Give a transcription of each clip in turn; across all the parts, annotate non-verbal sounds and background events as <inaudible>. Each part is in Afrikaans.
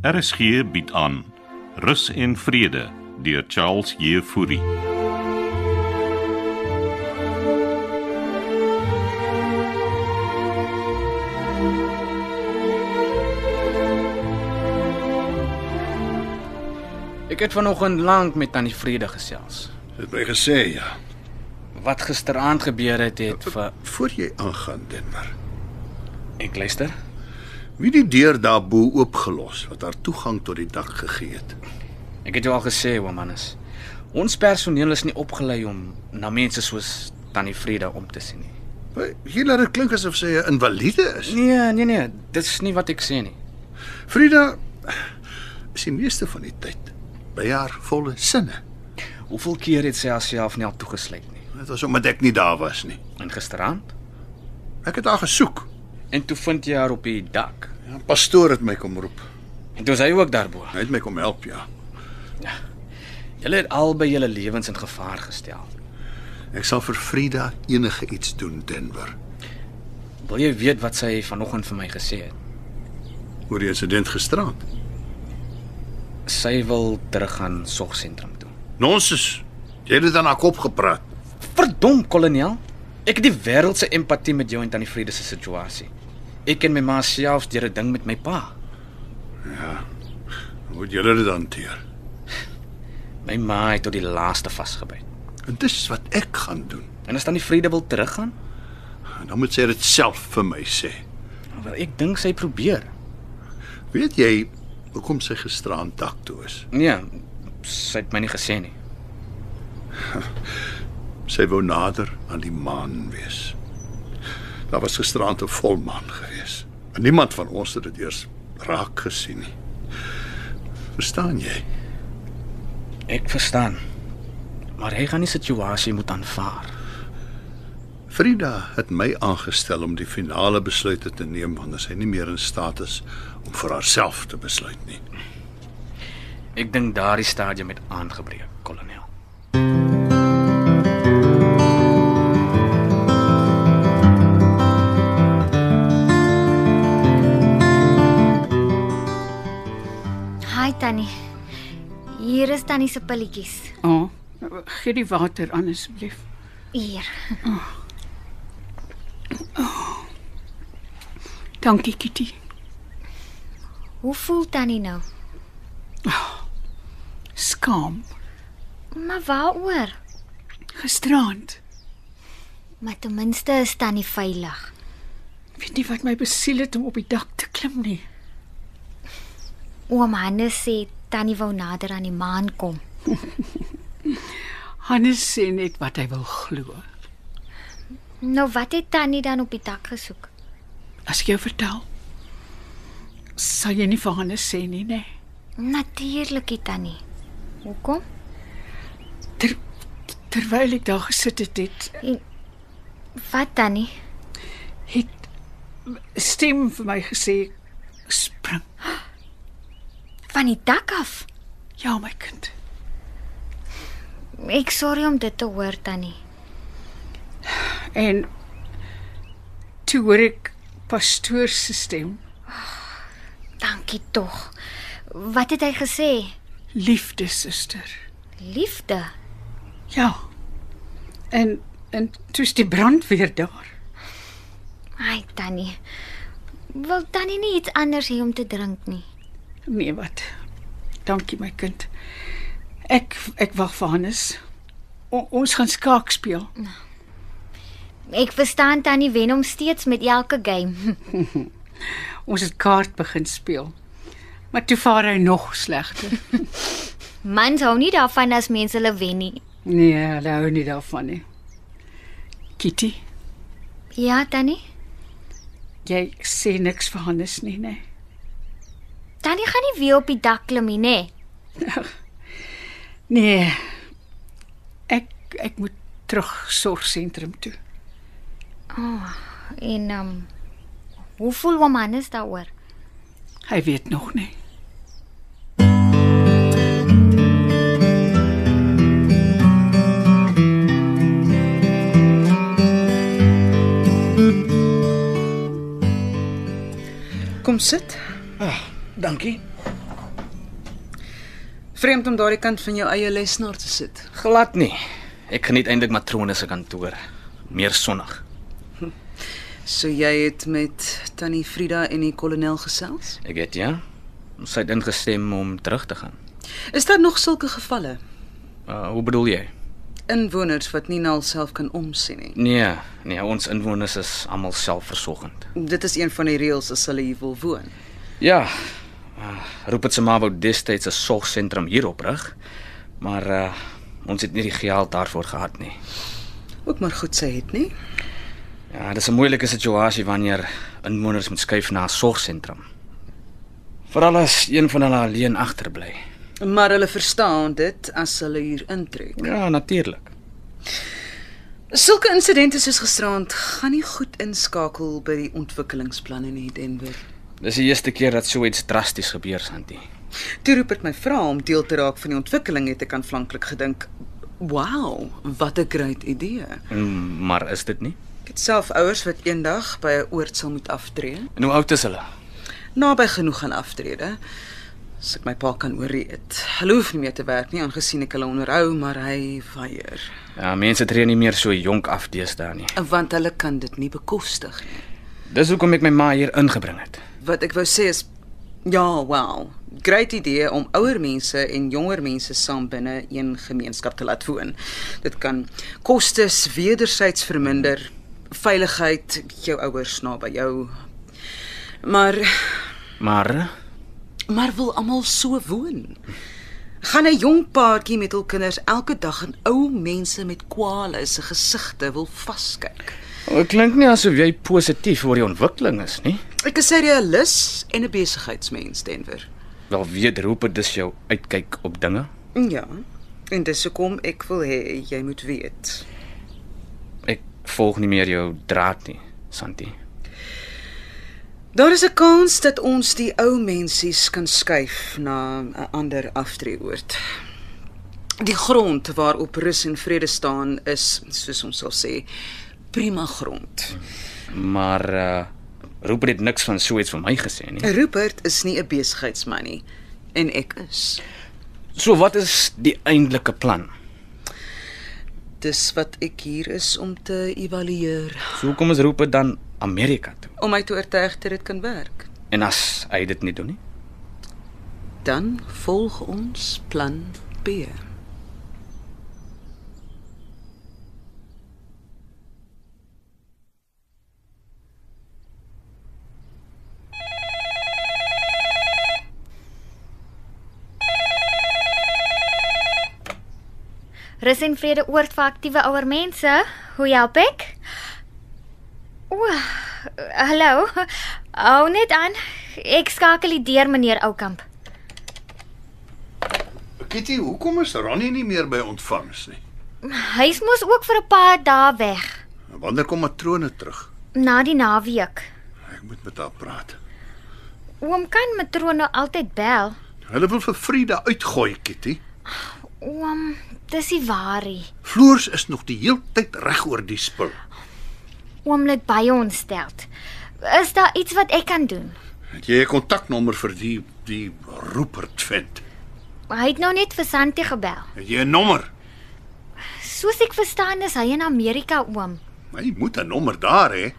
RSG bied aan Rus en Vrede deur Charles Jefouri. Ek het vanoggend lank met tannie Vrede gesels. Dit my gesê ja. Wat gisteraand gebeur het het vir Voor jy aangaan Denver. ek luister. Wie die deur daarbo oopgelos wat haar toegang tot die dak gegee het. Ek het jou al gesê, Womanus. Ons personeel is nie opgelei om na mense soos tannie Vrede om te sien nie. Maar Jy laat dit klink asof sy 'n invalide is. Nee, nee nee, dis nie wat ek sê nie. Frida is die meeste van die tyd by haar volle sinne. Hoeveel keer het sy haarself nie al toegesluit nie? Dit was omdat ek nie daar was nie. En gisteraand? Ek het haar gesoek. En toe vind jy haar op die dak. 'n Pastoor het my kom roep. En toe is hy ook daarbo. Hy het my kom help ja. Julle het albei julle lewens in gevaar gestel. Ek sal vir Frida enige iets doen Denver. Wil jy weet wat sy vanoggend vir my gesê het? Oor die insident gisteraand. Sy wil teruggaan sorgsentrum toe. Nonsens. Jy het dit aan haar kop gepraat. Verdom, kolonel. Ek het die wêreld se empatie met jou en tannie Vrede se situasie. Ek en my ma selfs deur 'n ding met my pa. Moet jy dit hanteer. My ma het tot die laaste vasgebyt. En dis wat ek gaan doen. En as tannie Vrede wil teruggaan, En dan moet sy dit self vir my sê. wel ek dink sy probeer. Weet jy hoekom sy gisteraand dak toe is? Nee, sy het my nie gesê nie. Sy wou nader aan die maan wees. Daar was gisteraand 'n volmaan gewees. En niemand van ons het dit eers raak gesien nie. Verstaan jy? Ek verstaan. Maar hy gaan die situasie moet aanvaar. Frida het my aangestel om die finale besluite te neem wanneer sy nie meer in staat is om vir haarself te besluit nie. Ek dink daardie stadium het aangebreek, kolonel. Hi Tannie. Hier is Tannie se pilletjies. O, oh, gee die water aan asseblief. Hier. Dankie Kitty. Hoe voel Tannie nou? Skaam. Maar waaroor? Gisterand. Maar ten minste is Tannie veilig. Weet nie wat my besiel het om op die dak te klim nie. Oom Hannes sê Tannie wou nader aan die maan kom. Hannes sê net wat hy wil glo. Nou wat het Tannie dan op die dak gesoek? As ek jou vertel, sal jy nie vir Hannes sê nie, nee. nê? Natuurlikie Tannie. Hoekom? Ter, terwyl ek daar gesit het, het, Wat Tannie? het 'n stem vir my gesê spring. Van die dak af. Ja, my kind. Ek sorry om dit te hoor Tannie. En toe hoor ek pastoor se stem, Dankie tog. Wat het hy gesê? liefde suster. Liefde. Ja. En en toe's die brand weer daar. Ai Tannie. Wil Tannie nie iets anders hê om te drink nie? Nee, wat? Dankie my kind. Ek ek wag vir Hannes. O, ons gaan skaak speel. Ek verstaan Tannie wen hom steeds met elke game. <laughs> Ons het kaart begin speel. Maar toe vaar hy nog slegter. Mans hou nie daarvan as mense hulle wen nie. nee, hulle hou nie daarvan nie. Kitty, Ja, Tannie. jy sê niks vir Hannes nie, nee? nê? Tannie gaan nie weer op die dak klim nie, nê? Nee. Ek ek moet terug sorgsentrum toe. En ehm um, hoe voel hom Hannes daaroor? Hy weet nog nie. Kom sit. Dankie. Vreemd om daardie kant van jou eie lesenaar te sit. Glad nie. Ek geniet eintlik matrone se kantoor. Meer sonnig. So jy het met Tannie Frida en die kolonel gesels? Ek weet ja. Sy het ingestem om terug te gaan. Is daar nog sulke gevalle? Uh, hoe bedoel jy? Inwoners wat nie na hulself kan omsien nie. Nee, nee, ons inwoners is almal selfversorgend. Dit is een van die reëls as hulle hier wil woon. Ja. Uh, Rupert se ma wou destyds 'n sorgsentrum hier oprig, maar uh, ons het nie die geld daarvoor gehad nie. Ook maar goed sy het nie. Ja, dis 'n moeilike situasie wanneer inwoners moet skuif na 'n sorgsentrum. Veral as een van hulle alleen agterbly. Maar hulle verstaan dit as hulle hier intrek. Ja, natuurlik. Sulke insidente soos gisteraand gaan nie goed inskakel by die ontwikkelingsplanne in Denver. Dis die eerste keer dat so iets drasties gebeur, Santi. Toe Rupert my vra om deel te raak van die ontwikkeling het ek aanvanklik gedink, "Wow, wat 'n great idee." Mm, Maar is dit nie? Ek het self ouers wat eendag by 'n oord sal moet aftree, En hoe oud is hulle? naby genoeg aan aftrede. As ek my pa kan ooreet. Hulle hoef nie meer te werk nie aangesien ek hulle onderhou, maar hy weier, Ja, mense tree nie meer so jonk af deesdae nie. want hulle kan dit nie bekostig nie. Dis hoekom ek my ma hier ingebring het. Wat ek wou sê is ja, wow. Great idee om ouer mense en jonger mense saam binne een gemeenskap te laat woon. Dit kan kostes wederzijds verminder, veiligheid, jou ouers naby jou. Maar Maar eh, maar wil almal so woon? Gaan 'n jong paartjie met hul kinders elke dag in ou mense met kwale se gesigte wil vaskyk. dit klink nie asof jy positief oor die ontwikkeling is nie. Ek is 'n realis en 'n besigheidsmens, Denver. Wel weet roep dit jou uitkyk op dinge. Ja. En dis hoekom ek wil hê jy moet weet. Ek volg nie meer jou draad nie, Santi. Daar is 'n kans dat ons die ou mensies kan skuif na 'n ander aftreeoord. Die grond waarop rus en vrede staan is, soos ons sal sê, prima grond. Maar uh roep dit niks van so iets vir my gesê nie. Rupert is nie 'n besigheidsman nie en ek is. So wat is die eintlike plan? Dis wat ek hier is om te evalueer, So hoekom is roep dit dan Amerika toe? om my te oortuig dat dit kan werk. En as hy dit nie doen nie? Dan volg ons plan B. Rus en vrede oord vir aktiewe ouer mense. Hoe help ek? O, hallo. Hou net aan. Ek skakel die deur meneer Oukamp. Kitty, hoekom is Ronnie nie meer by ontvangs nie? Hy's mos ook vir 'n paar dae weg En Wanneer kom matrone terug? na die naweek. Ek moet met haar praat. Oom kan matrone altyd bel. Hulle wil vir Frida uitgooi, Kitty. Oom, dis die waarheid. Floors is nog die heeltyd reg oor die spul. Oom lê by ons stel. Is daar iets wat ek kan doen? Het jy 'n kontaknommer vir die die Rupert vent? Hy het nou net vir Santi gebel. Het jy 'n nommer? Soos ek verstaan is hy in Amerika, oom. Jy moet 'n nommer daar hê.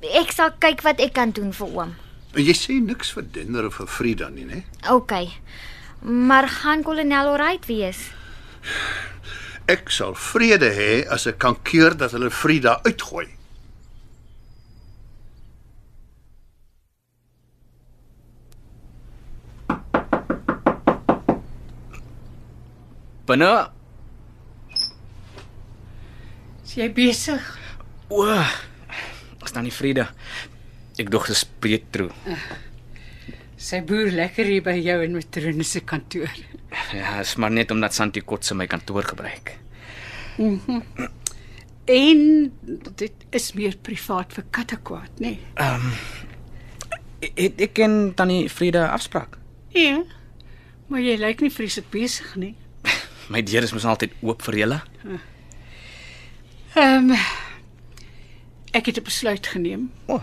Ek sal kyk wat ek kan doen vir oom. En jy sê niks vir Dinner of vir Frida nie, né? OK. Maar gaan kolonel alright wees? Ek sal vrede hê as ek kan keer dat hulle Frida uitgooi. Binne Is jy besig? o, is dan nie vrede. Ek dog dis Pietro. Sy boer lekker hier by jou in Matrone se kantoor. Ja, is maar net omdat Santi Kotse my kantoor gebruik. En dit is meer privaat vir Katakwaad, nê? Nee? E-, Het ek en tannie Frida afspraak? Ja. Maar jy lyk nie vreeslik besig nie. My deur is mos altyd oop vir julle. Ehm um, ek het 'n besluit geneem. O,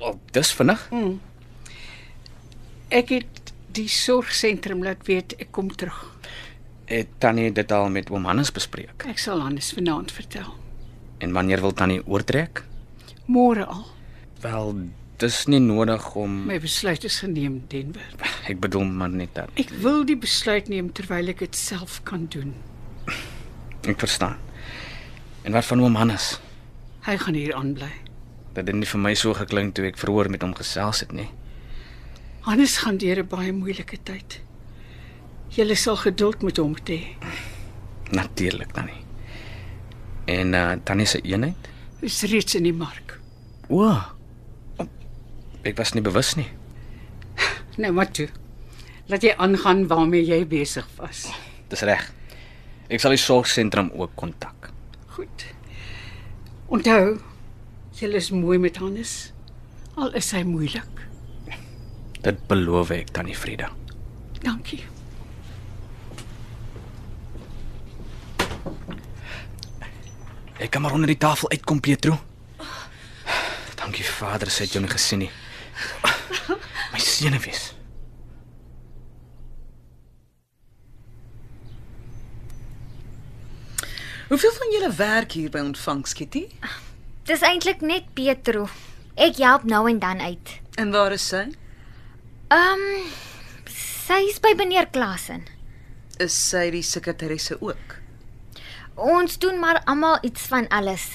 oh, dis vinnig. Ek het die sorgsentrum laat weet ek kom terug. Het Tannie dit al met oom Hannes bespreek? Ek sal Hannes vanaand vertel. En wanneer wil Tannie oortrek? Môre al. Wel, dis nie nodig om My besluit is geneem, Denver. ek bedoel maar net dat. Ek wil die besluit neem terwyl ek dit self kan doen. Ek verstaan. En wat van oom Hannes? Hy gaan hier aanbly. Dit het nie vir my so geklink toe ek vroeër met hom gesels het nie. Hannes gaan deur 'n baie moeilike tyd. Jy sal geduld met hom moet hê. Natuurlik dan nie. En uh, Tannie se eenheid? Hy's reeds in die mark. O. Ek was nie bewus nie. Nou wat toe? Laat jy aangaan waarmee jy besig was. Dis reg. Ek sal die sorgsentrum ook kontak. Goed. Onthou, jy is mooi met Hannes. Al is hy moeilik. Dit beloof ek Tannie Frida. Dankie. Ek kan maar onder die tafel uitkom, Pietro. Dankie Vader, sy het jou nie gesien nie. My senuwees. Hoeveel van julle werk hier by ontvangs, Kitty? Dis eintlik net Petro. Ek help nou en dan uit. En waar is sy? Ehm um, sy's by meneer Klassen. Is sy die sekretaresse ook? Ons doen maar almal iets van alles.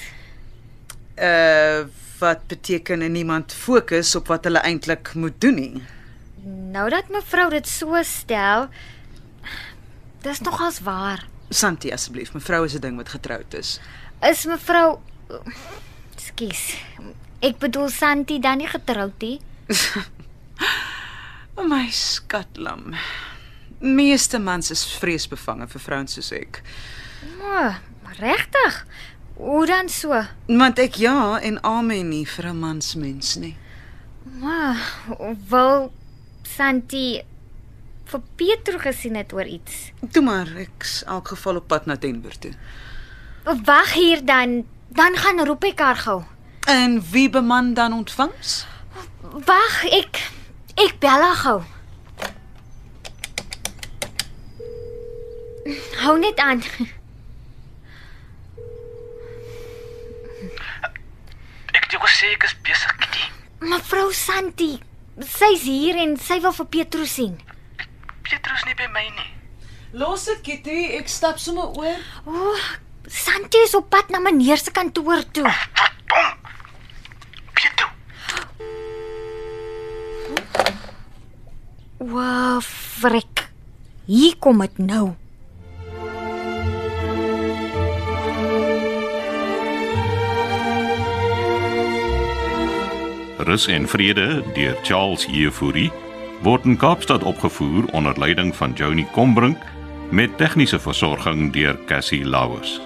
Uh wat beteken en niemand fokus op wat hulle eintlik moet doen nie. Nou dat mevrou dit so stel, dis nogals waar. Santi asseblief, mevrou is 'n ding wat getroud is. Is mevrou Skus. Ek bedoel Santi dan nie getroud nie. O my skatlam. Meeste mans is vreesbevange vir vrouens soos ek. Maar regtig? Hoe dan so? Want ek ja en amen nie vir 'n mans mens nie. Maar wil Santi vir Pietro gesien het oor iets? Toe maar, ek's in elk geval op pad na Denver toe. Wag hier dan, dan gaan roep ek haar gou. En wie beman dan ontvangs? Wag, ek ek bel haar gou. Hou net aan. Ek dink sê ek is besig, Kitty. Mevrou Santi, sy's hier en sy wil vir Pietro sien. Petrus nie by my nie. Los dit Kitty, ek stap sommer oor. O, oh, Santi is op pad na meneer se kantoor toe. Verdom. Pietro, Wow, frik. Hier kom dit nou. Rus en Vrede deur Charles Jefouri word in Kaapstad opgevoer onder leiding van Johnny Combrink met tegniese versorging deur Cassie Lauers.